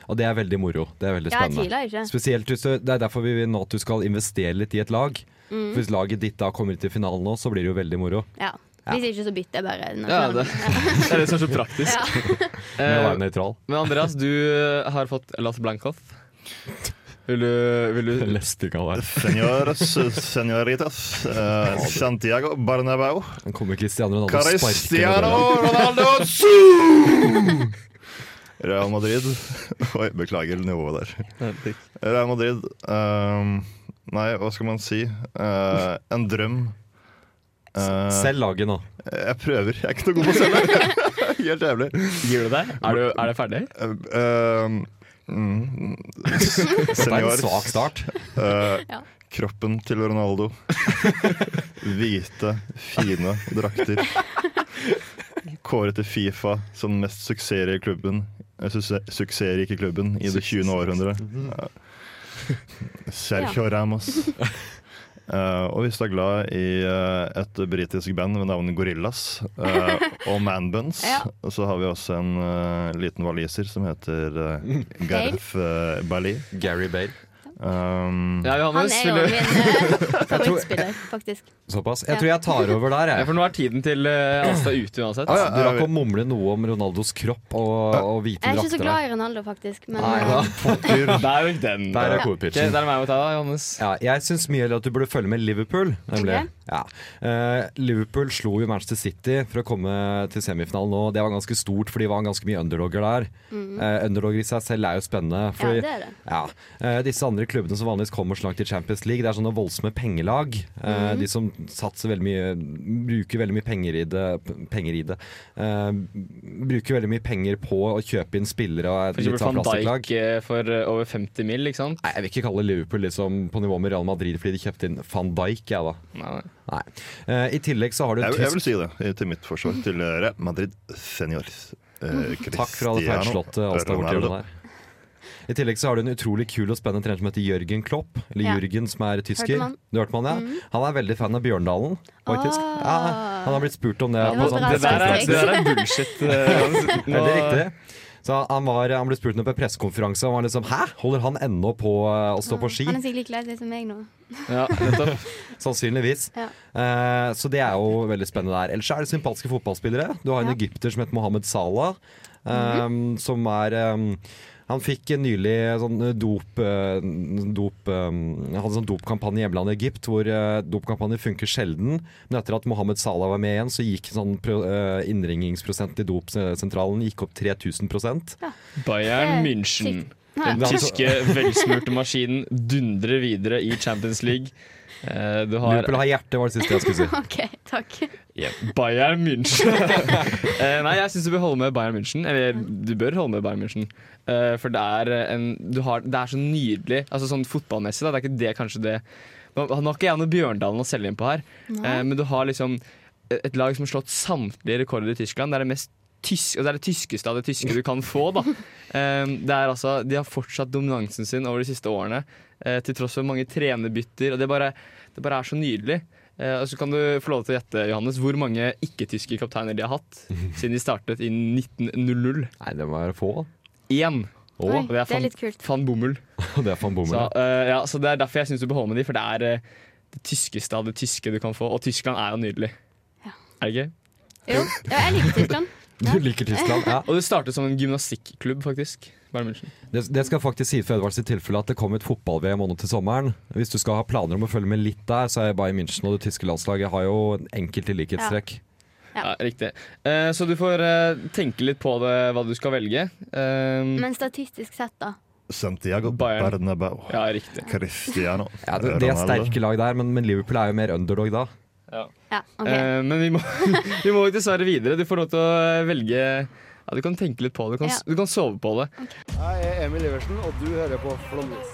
[SPEAKER 1] Og det er veldig moro. Det er veldig
[SPEAKER 4] Ja, jeg
[SPEAKER 1] spennende.
[SPEAKER 4] tviler ikke.
[SPEAKER 1] Spesielt hvis du, Det er derfor vi vil nå at du skal investere litt i et lag.
[SPEAKER 4] Mm.
[SPEAKER 1] For Hvis laget ditt da kommer til finalen nå, så blir det jo veldig moro.
[SPEAKER 4] Ja. Hvis ikke, så bytter jeg bare.
[SPEAKER 2] Ja,
[SPEAKER 4] nasjonal.
[SPEAKER 2] det, det er det som er så praktisk.
[SPEAKER 1] Med å
[SPEAKER 2] Eh,
[SPEAKER 1] være nøytral.
[SPEAKER 2] men Andreas, du eh, har fått Las Blankov. Vil du, vil du
[SPEAKER 1] Lesting av deg.
[SPEAKER 3] Senores, senoritas, eh, Santiago Barnabau,
[SPEAKER 1] Den kommer Cristiano Ronaldo og sparker ned
[SPEAKER 3] Cristiano
[SPEAKER 1] døra.
[SPEAKER 3] Ronaldo Zoom! Real Madrid. Oi, beklager nivået der. Real Madrid ehm, Nei, hva skal man si? Eh, en drøm. Eh,
[SPEAKER 1] Selg laget nå.
[SPEAKER 3] Jeg prøver. Jeg er ikke noe god på å selge. Helt jævlig.
[SPEAKER 2] Gir du deg? Er, du, er det ferdig?
[SPEAKER 3] Eh, ehm, mm,
[SPEAKER 1] Det er en
[SPEAKER 3] seniors.
[SPEAKER 1] svak start.
[SPEAKER 3] Eh,
[SPEAKER 4] Ja.
[SPEAKER 3] Kroppen til Ronaldo. Hvite, fine drakter. Kåret til Fifa som den mest suksessrike klubben, eh, suksess- suksessrike klubben i det 20. århundret. Ja. Sergio Ramos. Eh, og visst er glad i eh, et britisk band ved navn Gorillas eh, og Manbuns.
[SPEAKER 4] Ja.
[SPEAKER 3] Og så har vi også en eh, liten waliser som heter uh, Gareth eh, Bali.
[SPEAKER 1] Gary Bale.
[SPEAKER 3] Um,
[SPEAKER 2] Ja,
[SPEAKER 4] Han
[SPEAKER 2] Johannes.
[SPEAKER 4] er jo
[SPEAKER 2] Vil du?
[SPEAKER 4] min eh, favorittspiller, faktisk.
[SPEAKER 1] Såpass. Jeg tror jeg tar over der,
[SPEAKER 2] Ja,
[SPEAKER 1] jeg. Altså,
[SPEAKER 2] for nå er tiden til eh, Asta ute uansett.
[SPEAKER 3] Ah, ja.
[SPEAKER 1] Du rakk å mumle noe om Ronaldos kropp og, og hvite
[SPEAKER 4] Jeg er ikke så
[SPEAKER 1] drakter.
[SPEAKER 4] glad i Ronaldo, faktisk. Men
[SPEAKER 1] Nei,
[SPEAKER 4] eh,
[SPEAKER 1] da.
[SPEAKER 2] Der gikk den.
[SPEAKER 1] Der er
[SPEAKER 2] Ok,
[SPEAKER 1] hovedpitchen.
[SPEAKER 2] der er meg mot deg, da, Johannes.
[SPEAKER 1] Ja, jeg syns mye at du burde følge med Liverpool. Nemlig.
[SPEAKER 4] Ok.
[SPEAKER 1] Ja. Eh, Liverpool slo jo Manchester City for å komme til semifinalen nå. Det var ganske stort, for de var ganske mye underdogger der. Eh, underdogger i seg selv er jo spennende.
[SPEAKER 4] Mm. ja,
[SPEAKER 1] fordi-
[SPEAKER 4] det er det.
[SPEAKER 1] ja. Eh, disse andre mindre klubbene som vanligvis kommer så langt i Champions League. Det er sånne voldsomme pengelag. Eh,
[SPEAKER 4] Mm.
[SPEAKER 1] de som satser veldig mye Bruker veldig mye penger i det. p- Penger i det. Eh, bruker veldig mye penger på å kjøpe inn spillere av et
[SPEAKER 2] For
[SPEAKER 1] litt
[SPEAKER 2] eksempel
[SPEAKER 1] sånn
[SPEAKER 2] Van
[SPEAKER 1] plastikklag.
[SPEAKER 2] Dijk eh, for eh, over 50 mil, ikke sant?
[SPEAKER 1] Nei, Jeg vil ikke kalle Liverpool liksom på nivå med Real Madrid fordi de kjøpte inn van Dijk. Jeg, da.
[SPEAKER 2] Nei, nei.
[SPEAKER 1] Nei. Eh, I tillegg så har du
[SPEAKER 3] Jeg,
[SPEAKER 1] tysk-
[SPEAKER 3] jeg vil si det, i- til mitt forsvar. Til eh, Real Madrid Seniors. Eh,
[SPEAKER 1] Takk for alle feilslåtte Alstad borti hjørnet der. I tillegg så har du en utrolig kul og spennende trener som heter Jørgen Klopp. Eller
[SPEAKER 4] Ja.
[SPEAKER 1] Jørgen, som er tysker.
[SPEAKER 4] Hørte man. Mm.
[SPEAKER 1] Du hørte man, ja? Han er veldig fan av Bjørndalen, faktisk.
[SPEAKER 4] Ah.
[SPEAKER 1] Ja, han har blitt spurt om det.
[SPEAKER 4] Det
[SPEAKER 1] på
[SPEAKER 4] var
[SPEAKER 1] sånn
[SPEAKER 4] bra
[SPEAKER 2] Det der er,
[SPEAKER 4] sagt.
[SPEAKER 2] det der er bullshit. eh,
[SPEAKER 1] er det
[SPEAKER 2] Nå-
[SPEAKER 1] riktig? Så han, var, han ble spurt om det på pressekonferanse, og han var liksom Hæ? Holder han ennå på eh, å stå på ski?
[SPEAKER 4] Mm. Han er sikkert like lei seg som meg nå.
[SPEAKER 2] Ja, nettopp.
[SPEAKER 1] Sannsynligvis.
[SPEAKER 4] Ja.
[SPEAKER 1] Eh, så det er jo veldig spennende der. Ellers er det sympatiske fotballspillere. Du har en
[SPEAKER 4] Ja. Mhm.
[SPEAKER 1] egypter som heter Mohammed Salah, eh, som er eh, han fikk en nylig sånn eh, dop, eh, dop eh, Han hadde sånn dopkampanje i hjemlandet Egypt, hvor eh, dopkampanjer funker sjelden. Men etter at Mohammed Salah var med igjen, så gikk sånn pro, eh, innringingsprosenten i dopsentralen gikk opp 3000
[SPEAKER 2] Bayern München. Den
[SPEAKER 1] Ja.
[SPEAKER 2] tyske velsmurte maskinen dundrer videre i Champions League. Eh, Du har
[SPEAKER 1] Liverpool har hjerte, var det siste jeg skulle si.
[SPEAKER 4] OK, takk.
[SPEAKER 2] Ja, Bayern München. Eh, nei, jeg syns du bør holde med Bayern München. Eller du bør holde med Bayern München. Eh, for det er, eh, en, du har, det er så nydelig Altså sånn fotballmessig. Da, det er ikke det kanskje det Nå nå har ikke jeg noe Bjørndalen å selge inn på her, eh, men du har liksom et lag som har slått samtlige rekorder i Tyskland. Det er det mest tysk, og det er det tyskeste av det tyske du kan få. Da. Eh, Det er altså, de har fortsatt dominansen sin over de siste årene, eh, til tross for mange trenerbytter. Og det bare, det bare er så nydelig. Eh, Og så kan du få lov til å gjette Johannes, hvor mange ikke-tyske kapteiner de har hatt siden de startet i 1900.
[SPEAKER 1] Nei, det må være få.
[SPEAKER 2] Én!
[SPEAKER 4] Oi,
[SPEAKER 2] Og det er
[SPEAKER 4] det er
[SPEAKER 2] van,
[SPEAKER 4] litt kult.
[SPEAKER 2] van Bommel.
[SPEAKER 1] Det er van
[SPEAKER 2] Så,
[SPEAKER 1] Bommel.
[SPEAKER 2] eh, ja, så Det er derfor jeg syns du bør holde med de, for det er eh, det tyskeste av det tyske du kan få. Og Tyskland er jo nydelig.
[SPEAKER 4] Ja.
[SPEAKER 2] Er det ikke?
[SPEAKER 4] Jo, ja, jeg liker Tyskland.
[SPEAKER 1] Du liker Tyskland? Ja.
[SPEAKER 2] Og det startet som en gymnastikklubb, faktisk. Bayern München.
[SPEAKER 1] Det, det skal faktisk si for Edvards i tilfelle at det kommer et fotball-VM nå til sommeren. Hvis du skal ha planer om å følge med litt der, så er Bayern München og det tyske landslaget har jo enkelte likhetstrekk.
[SPEAKER 2] Ja, riktig. Eh, så du får eh, tenke litt på det, hva du skal velge. Eh,
[SPEAKER 4] Men statistisk sett, da.
[SPEAKER 3] Santiago
[SPEAKER 2] Bayern.
[SPEAKER 3] Bernabeu.
[SPEAKER 2] ja, riktig.
[SPEAKER 3] Cristiano.
[SPEAKER 1] Ja, det, det er sterke lag der, men, men Liverpool er jo mer underdog da.
[SPEAKER 4] Ja, OK.
[SPEAKER 2] Eh, men vi må, vi må dessverre videre. Du får lov til å eh, velge ja, Du kan tenke litt på det. Du kan,
[SPEAKER 4] Ja.
[SPEAKER 2] du kan sove på det.
[SPEAKER 7] Jeg er Emil Iversen, og du hører på Flåmlys.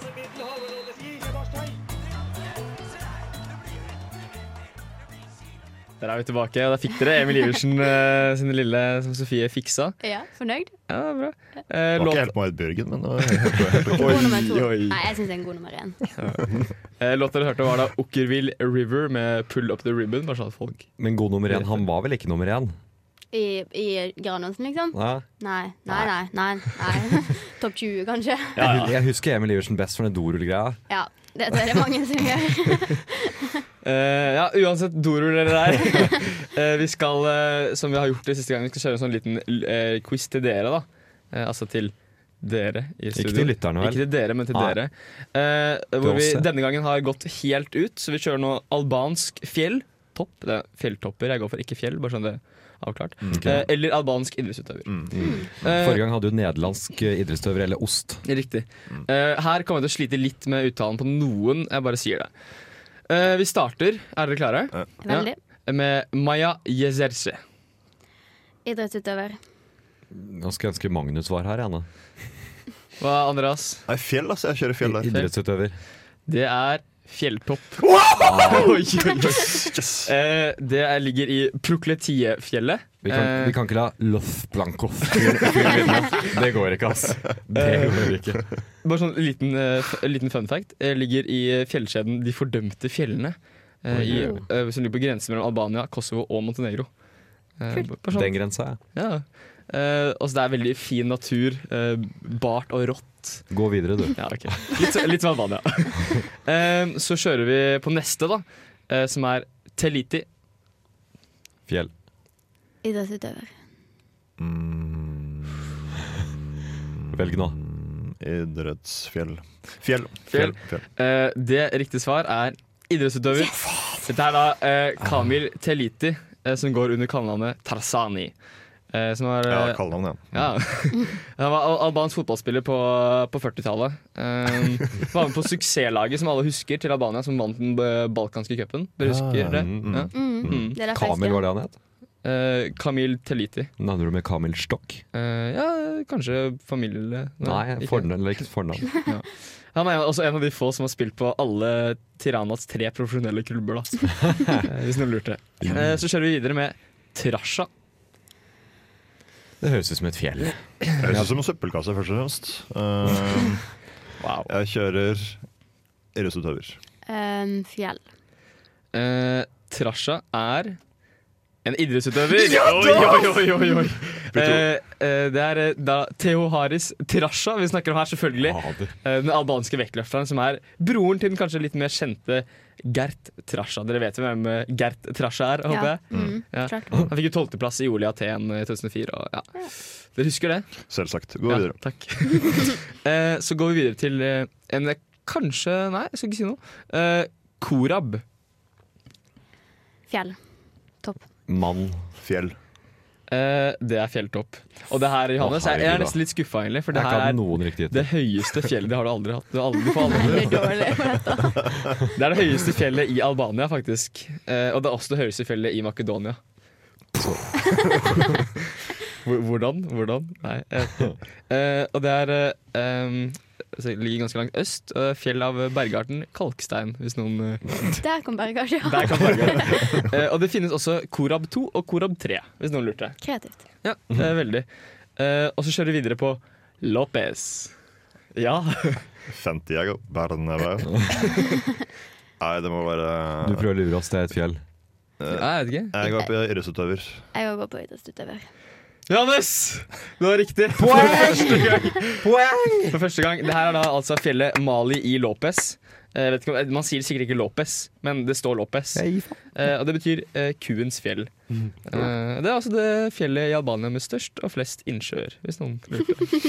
[SPEAKER 2] Der er vi tilbake, og der fikk dere Emil Iversen eh, sin lille som Sofie fiksa.
[SPEAKER 4] Ja, fornøyd?
[SPEAKER 2] Ja, bra. Eh,
[SPEAKER 3] Det var ikke
[SPEAKER 2] låt,
[SPEAKER 3] helt Marit Bjørgen, men det var helt, helt ok.
[SPEAKER 4] God nummer to.
[SPEAKER 2] oi.
[SPEAKER 4] Nei, jeg syns det er en god nummer én.
[SPEAKER 2] eh, låt dere hørte, var da Okkerville River med 'Pull Up The Ribbon'. Bare sånn at folk
[SPEAKER 1] Men god nummer én, han var vel ikke nummer én?
[SPEAKER 4] I, i Granåsen, liksom?
[SPEAKER 1] Ja.
[SPEAKER 4] Nei, nei, nei. nei, nei. Topp 20, kanskje?
[SPEAKER 1] Jeg, jeg husker Emil Iversen best for den dorullgreia.
[SPEAKER 4] Ja. Det, det er det mange som gjør.
[SPEAKER 2] Eh, ja, uansett dorull eller ei. Eh, vi skal, eh, som vi har gjort det siste gangen, vi skal kjøre en sånn liten eh, quiz til dere, da. Eh, altså til dere i studio.
[SPEAKER 1] Ikke til lytterne,
[SPEAKER 2] Ikke
[SPEAKER 1] vel?
[SPEAKER 2] til dere, men til
[SPEAKER 1] Nei.
[SPEAKER 2] dere. Eh, hvor vi
[SPEAKER 1] oss, ja.
[SPEAKER 2] denne gangen har gått helt ut, så vi kjører nå albansk fjell. Topp. Det er fjelltopper jeg går for, ikke fjell, bare sånn det er avklart. Eh, eller albansk idrettsutøver. Eh,
[SPEAKER 1] Forrige gang hadde du nederlandsk eh, idrettsutøver, eller ost.
[SPEAKER 2] Riktig. Eh, her kommer jeg til å slite litt med uttalen på noen. Jeg bare sier det. Eh, vi starter. Er dere klare?
[SPEAKER 4] Veldig.
[SPEAKER 2] Med Maya Jezerce.
[SPEAKER 4] Idrettsutøver.
[SPEAKER 1] Nå skulle jeg ønske Magnus var her, Anne.
[SPEAKER 2] Hva, Andreas?
[SPEAKER 3] Nei, fjell, altså. Jeg kjører fjell der.
[SPEAKER 1] Idrettsutøver.
[SPEAKER 2] Det er fjelltopp. Oi, oi, oi. Eh, det er- ligger i Prokletiefjellet.
[SPEAKER 1] Vi kan,
[SPEAKER 2] Eh,
[SPEAKER 1] vi kan ikke la Loth Blankov Det går ikke, ass. Det går ikke.
[SPEAKER 2] Bare sånn liten, eh, f- liten fun fact. Eh, ligger i eh, fjellkjeden De fordømte fjellene. eh, i, eh, som ligger på grensen mellom Albania, Kosovo og Montenegro. Eh, bare sånn.
[SPEAKER 1] Den grensa, ja.
[SPEAKER 2] Ja. Eh, altså det er veldig fin natur. eh, bart og rått.
[SPEAKER 1] Gå videre, du.
[SPEAKER 2] Ja, ok. Litt, litt som Albania. Eh, så kjører vi på neste, da. eh, som er Teliti.
[SPEAKER 1] Fjell.
[SPEAKER 4] Idrettsutøver.
[SPEAKER 3] Mm,
[SPEAKER 1] Velg nå.
[SPEAKER 2] Mm.
[SPEAKER 3] Idrettsfjell. Fjell.
[SPEAKER 2] Fjell.
[SPEAKER 3] Fjell. Fjell.
[SPEAKER 2] Eh, det riktige svar er idrettsutøver. Dette er da eh, Kamil Teliti, eh, som går under kallenavnet Tarzani. eh, som var
[SPEAKER 3] Ja,
[SPEAKER 2] eh,
[SPEAKER 3] kallenavn, ja.
[SPEAKER 2] ja. Han var al- albansk fotballspiller på, på 40-tallet. Um, var med på suksesslaget som alle husker til Albania, som vant den eh, balkanske cupen. Dere husker det? Ja.
[SPEAKER 4] Mm. Det er derfor jeg
[SPEAKER 1] Kamil,
[SPEAKER 4] husker
[SPEAKER 1] var
[SPEAKER 4] det.
[SPEAKER 1] det han het?
[SPEAKER 2] Eh, Kamil Teliti.
[SPEAKER 1] Navner du med Kamil Stokk?
[SPEAKER 2] Eh, ja, kanskje familie
[SPEAKER 1] Nei,
[SPEAKER 2] ikke.
[SPEAKER 1] fornavn, eller ikke fornavn.
[SPEAKER 2] Han er jo også en av de få som har spilt på alle Tiranas tre profesjonelle klubber, da. Eh, Hvis noen lurte. Eh, så kjører vi videre med Trasha.
[SPEAKER 1] Det høres ut som et fjell.
[SPEAKER 3] Det Høres ut som en søppelkasse, først og fremst. Eh,
[SPEAKER 2] Wow.
[SPEAKER 3] jeg kjører russutøver.
[SPEAKER 4] Ehm, fjell.
[SPEAKER 2] Eh, Trasha er en idrettsutøver. oi, oi, oi, oi, oi. Eh, eh, det er eh, da Theo Haris Trasha vi snakker om her, selvfølgelig. Eh, den albanske vektløfteren som er broren til den kanskje litt mer kjente Gert Trasha. Dere vet jo hvem eh, Gert Trasha er, håper
[SPEAKER 4] Ja.
[SPEAKER 2] jeg.
[SPEAKER 4] Mm.
[SPEAKER 2] Ja.
[SPEAKER 4] Klart.
[SPEAKER 2] Han fikk jo tolvteplass i OL i Aten eh, i 2004. Og, ja. Dere husker det?
[SPEAKER 3] Selvsagt. Gå
[SPEAKER 2] Ja,
[SPEAKER 3] videre.
[SPEAKER 2] takk. Eh, så går vi videre til eh, en kanskje Nei, jeg skal ikke si noe. Eh, Korab.
[SPEAKER 4] Fjell. Topp.
[SPEAKER 1] Mann.
[SPEAKER 3] Fjell.
[SPEAKER 2] Eh, det er fjelltopp. Og det her, Johannes, jeg jeg er
[SPEAKER 1] herregud,
[SPEAKER 2] nesten litt skuffa, egentlig. For
[SPEAKER 1] Jeg
[SPEAKER 2] det
[SPEAKER 1] har ikke
[SPEAKER 2] her
[SPEAKER 1] hatt
[SPEAKER 2] er
[SPEAKER 1] noen riktige
[SPEAKER 2] det høyeste fjellet det har du aldri hatt. Du har aldri, du får aldri.
[SPEAKER 4] Veldig dårlig.
[SPEAKER 2] Det er det høyeste fjellet i Albania, faktisk. Eh, og det er også det høyeste fjellet i Makedonia. Hvor- Hvordan? Hvordan? Nei. jeg vet ikke. Eh, og det er eh, em, så det ligger ganske langt øst. eh, fjell av bergarten kalkstein, hvis noen eh,
[SPEAKER 4] Der kom bare kanskje ja.
[SPEAKER 2] Der kan bergarten. Eh, og det finnes også Korab 2 og Korab 3, hvis noen lurte.
[SPEAKER 4] Kreativt.
[SPEAKER 2] Ja, eh, veldig. Eh, og så kjører vi videre på Lopez. Ja.
[SPEAKER 3] Santiago Bernabeu. Nei, det må være
[SPEAKER 1] Du prøver å lure oss, det er et fjell.
[SPEAKER 2] Jeg vet ikke.
[SPEAKER 3] Jeg går på russutøver.
[SPEAKER 4] Jeg òg går på idrettsutøver.
[SPEAKER 2] Johannes! Det var riktig. Poeng! For første gang. For første gang. Det her er da altså fjellet Mali i Lopez. Eh, vet ikke, om- man sier sikkert ikke Lopez, men det står Lopez. Eh, og det betyr eh, kuens fjell. Eh, det er altså det fjellet i Albania med størst og flest innsjøer, hvis noen lurte.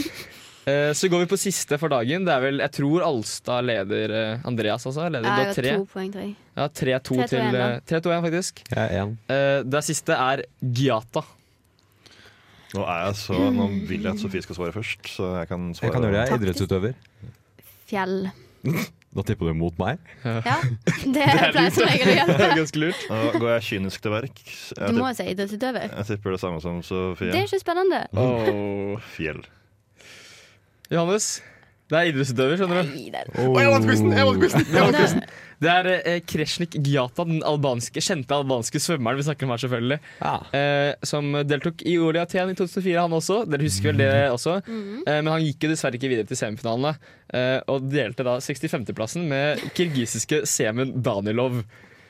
[SPEAKER 2] Eh, så går vi på siste for dagen. Det er vel, Jeg tror Alstad leder eh, Andreas, altså. Leder
[SPEAKER 4] Jeg
[SPEAKER 2] da
[SPEAKER 4] har to
[SPEAKER 2] tre.
[SPEAKER 4] poeng, tror jeg.
[SPEAKER 2] Ja, 3-2
[SPEAKER 4] 3-2-1
[SPEAKER 2] til eh, 3-2-1, faktisk.
[SPEAKER 1] Jeg er en.
[SPEAKER 2] Eh, det siste er Giata.
[SPEAKER 3] Nå, er jeg så, nå vil jeg at Sofie skal svare først, så jeg kan svare.
[SPEAKER 1] Jeg kan gjøre det, jeg er
[SPEAKER 4] Taktisk.
[SPEAKER 1] idrettsutøver.
[SPEAKER 4] Fjell.
[SPEAKER 1] Da tipper du mot meg.
[SPEAKER 4] Ja, det pleier som regel
[SPEAKER 2] Det
[SPEAKER 4] å gjøre.
[SPEAKER 2] er ganske lurt.
[SPEAKER 3] Nå går jeg kynisk til verk. Jeg,
[SPEAKER 4] Du må
[SPEAKER 3] tipp-
[SPEAKER 4] si idrettsutøver.
[SPEAKER 3] jeg tipper det samme som Sofie.
[SPEAKER 4] Det er ikke spennende.
[SPEAKER 2] Oh.
[SPEAKER 3] Fjell.
[SPEAKER 2] Johannes, det er idrettsutøver, skjønner du.
[SPEAKER 4] Nei, det er-
[SPEAKER 3] Å, jeg vant quizen! Jeg vant quizen!
[SPEAKER 4] Men det-
[SPEAKER 2] Det er eh, Kresnik Giata, den albanske, kjente albanske svømmeren vi snakker om her, selvfølgelig.
[SPEAKER 1] Ja.
[SPEAKER 2] Eh, som deltok i OL i Aten i 2004, han også. Dere husker vel det også? Eh, men han gikk jo dessverre ikke videre til semifinalene. Eh, og delte da 65.-plassen med kirgisiske Semen Danilov.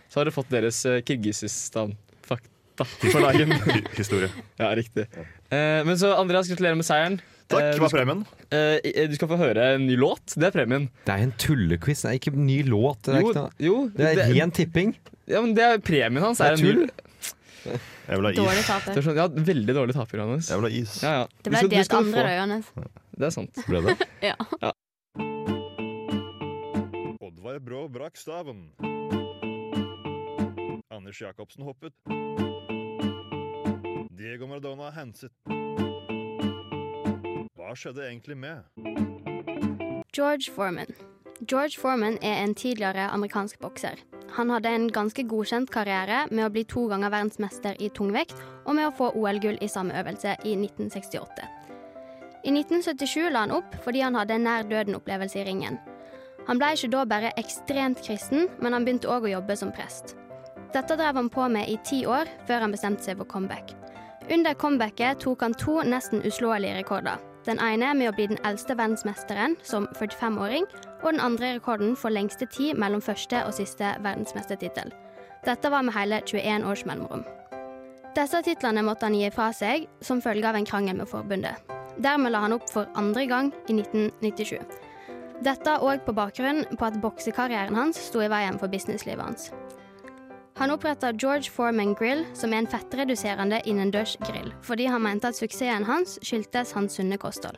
[SPEAKER 2] Så har dere fått deres eh, Kirgisistan-fakta for dagen.
[SPEAKER 3] Hi- Historie.
[SPEAKER 2] ja, riktig. Eh, men så Andreas, gratulerer med seieren.
[SPEAKER 3] Takk,
[SPEAKER 2] Eh,
[SPEAKER 3] hva er premien?
[SPEAKER 2] Eh, i- du skal få høre en ny låt. Det er premien.
[SPEAKER 1] Det er en tullequiz, det er ikke en ny låt. Det er,
[SPEAKER 2] Jo,
[SPEAKER 1] ikke noe.
[SPEAKER 2] jo
[SPEAKER 1] Det er ren tipping.
[SPEAKER 2] ja, men det er premien hans.
[SPEAKER 1] Det er
[SPEAKER 2] Er en ny-
[SPEAKER 1] tull.
[SPEAKER 3] Jeg vil ha
[SPEAKER 4] Dårlig
[SPEAKER 3] is.
[SPEAKER 2] Det er
[SPEAKER 4] taper.
[SPEAKER 2] sånn, ja, veldig dårlig taper, Johannes.
[SPEAKER 3] Jeg vil ha is.
[SPEAKER 2] Ja, ja.
[SPEAKER 4] Det
[SPEAKER 2] Du
[SPEAKER 4] ble
[SPEAKER 2] skal- du
[SPEAKER 4] delt
[SPEAKER 2] skal
[SPEAKER 4] andre,
[SPEAKER 2] få-
[SPEAKER 4] da, Johannes.
[SPEAKER 2] Det er sant.
[SPEAKER 1] Ble det?
[SPEAKER 4] Ja.
[SPEAKER 3] Oddvar Brå brakk staven. Anders Jacobsen hoppet. Diego Maradona henset. Hva skjedde egentlig med
[SPEAKER 4] George Foreman. George Foreman er en tidligere amerikansk bokser. Han hadde en ganske godkjent karriere med å bli to ganger verdensmester i tungvekt og med å få OL-gull i samme øvelse i 1968. I 1977 la han opp fordi han hadde en nær døden-opplevelse i ringen. Han ble ikke da bare ekstremt kristen, men han begynte òg å jobbe som prest. Dette drev han på med i ti år, før han bestemte seg for comeback. Under comebacket tok han to nesten uslåelige rekorder. Den ene med å bli den eldste verdensmesteren som 45-åring, og den andre rekorden for lengste tid mellom første og siste verdensmestertittel. Dette var med hele 21 års mellomrom. Disse titlene måtte han gi fra seg som følge av en krangel med forbundet. Dermed la han opp for andre gang i 1997. Dette òg på bakgrunn på at boksekarrieren hans sto i veien for businesslivet hans. Han oppretta George Foreman Grill, som er en fettreduserende innendørs grill, fordi han mente at suksessen hans skyldtes hans sunne kosthold.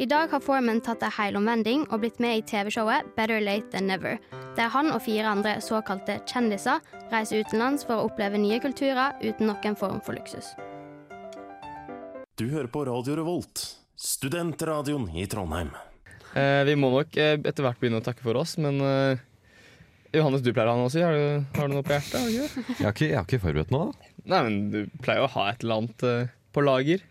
[SPEAKER 4] I dag har Foreman tatt en helomvending og blitt med i TV-showet Better Late Than Never, der han og fire andre såkalte kjendiser reiser utenlands for å oppleve nye kulturer uten noen form for luksus.
[SPEAKER 5] Du hører på Radio Revolt, studentradioen i Trondheim.
[SPEAKER 2] Eh, vi må nok eh, etter hvert begynne å takke for oss, men eh, Johannes, du pleier å ha noe å si. Har du, har du noe på hjertet? Har du ikke? det?
[SPEAKER 1] Jeg har ikke, jeg har ikke forberedt noe.
[SPEAKER 2] Nei, men du pleier å ha et eller annet eh, på lager.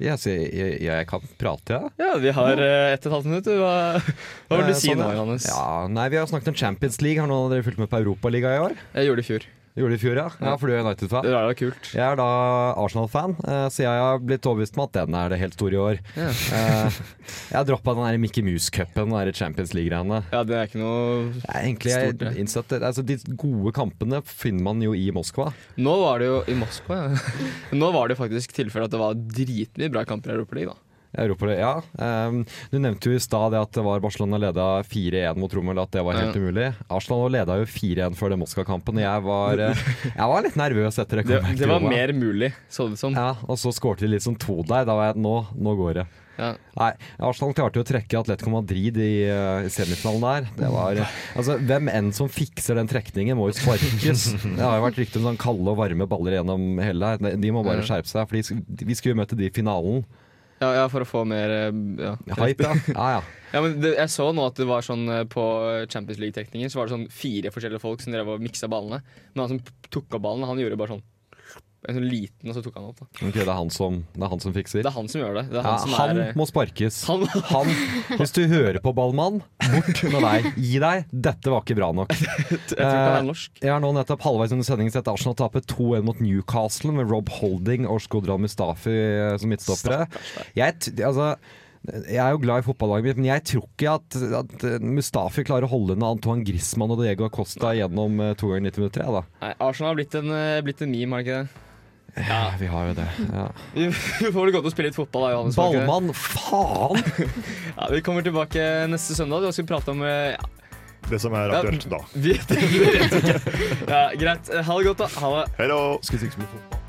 [SPEAKER 1] Jeg, jeg, jeg, jeg kan prate, ja.
[SPEAKER 2] Ja, vi har eh, ett og et halvt minutt. du. Hva, hva vil
[SPEAKER 1] Eh,
[SPEAKER 2] du si
[SPEAKER 1] sånn,
[SPEAKER 2] nå,
[SPEAKER 1] ja.
[SPEAKER 2] Johannes?
[SPEAKER 1] Ja, nei, Vi har snakket om Champions League. Har noen av dere fulgt med på Europaligaen i år?
[SPEAKER 2] Jeg gjorde det i fjor.
[SPEAKER 1] Gjorde det i fjor, ja? Ja, For du er United-fan?
[SPEAKER 2] Det var da kult.
[SPEAKER 1] Jeg er da Arsenal-fan, eh, så jeg har blitt overbevist om at den er det helt store i år.
[SPEAKER 2] Ja.
[SPEAKER 1] Eh, Jeg har droppa den der Mickey Mouse-cupen og den der Champions League-greiene.
[SPEAKER 2] Ja, det er ikke noe
[SPEAKER 1] Jeg er Egentlig jeg
[SPEAKER 2] Stort, det.
[SPEAKER 1] innsatt, altså, De gode kampene finner man jo i Moskva.
[SPEAKER 2] Nå var det jo i Moskva, ja. Nå var det jo faktisk tilfelle at det var dritmye bra kamper i Europaligaen, da.
[SPEAKER 1] Europa, ja. Ehm, du nevnte jo i stad det at det var Barcelona leda 4-1 mot Rommel, at det var helt
[SPEAKER 2] Ja.
[SPEAKER 1] umulig. Arsenal leda jo 4-1 før den Moskva-kampen, og jeg var, eh, jeg var litt nervøs etter det.
[SPEAKER 2] Det,
[SPEAKER 1] comebacket
[SPEAKER 2] det var
[SPEAKER 1] til Roma.
[SPEAKER 2] mer mulig, så det ut som.
[SPEAKER 1] Ja, og så skårte de liksom to der. Da var jeg Nå, nå går det.
[SPEAKER 2] Ja.
[SPEAKER 1] Nei, Arsenal klarte jo å trekke Atletico Madrid i eh, semifinalen der. Det var, altså, hvem enn som fikser den trekningen, må jo sparkes. Det har jo vært rykte om sånn kalde og varme baller gjennom hele her. De må bare skjerpe seg, for de sk- vi skulle jo møte de i finalen.
[SPEAKER 2] Ja, ja, for å få mer eh, ja.
[SPEAKER 1] Hype, ja. ja, ja.
[SPEAKER 2] ja men det, jeg så nå at det var sånn eh, på Champions League-trekningen så var det sånn fire forskjellige folk som drev og miksa ballene. Men han som p- tok av ballen, han gjorde bare sånn en sånn liten, og så tok han opp. Da.
[SPEAKER 1] Ok, det er han som, det er han som fikser.
[SPEAKER 2] Det er han som gjør det. Det er
[SPEAKER 1] Ja,
[SPEAKER 2] han som
[SPEAKER 1] han
[SPEAKER 2] er eh,
[SPEAKER 1] må sparkes.
[SPEAKER 2] han,
[SPEAKER 1] Han, hvis du hører på ballmann, bort med deg. Gi deg. Dette var ikke bra nok.
[SPEAKER 2] Jeg tror ikke
[SPEAKER 1] Eh.
[SPEAKER 2] han er norsk.
[SPEAKER 1] Jeg har nå nettopp halvveis under sendingen sett Arsenal tape 2-1 mot Newcastle med Rob Holding og Skodran Mustafi eh, som midtstoppere. Jeg, t- altså, jeg er jo glad i fotballaget mitt, men jeg tror ikke at, at eh, Mustafi klarer å holde unna Antoine Griezmann og Diego Acosta gjennom eh, to ganger 90 minutter. Ja, da.
[SPEAKER 2] Nei, Arsenal har blitt en, eh, blitt en meme, har det ikke det? Ja,
[SPEAKER 1] Vi har jo det. Ja.
[SPEAKER 2] Vi vi får vel gå til å spille litt fotball, da, Johannes. får vi ikke det?
[SPEAKER 1] Ballmann, faen!
[SPEAKER 2] Ja, vi kommer tilbake neste søndag. Da skal vi prate om eh, ja,
[SPEAKER 3] Det som er aktuelt da.
[SPEAKER 2] Vi, det vet vi ikke. Ja, greit. Ha det godt, da. Ha det.
[SPEAKER 3] Hei da!
[SPEAKER 1] Skulle sikkert spille fotball.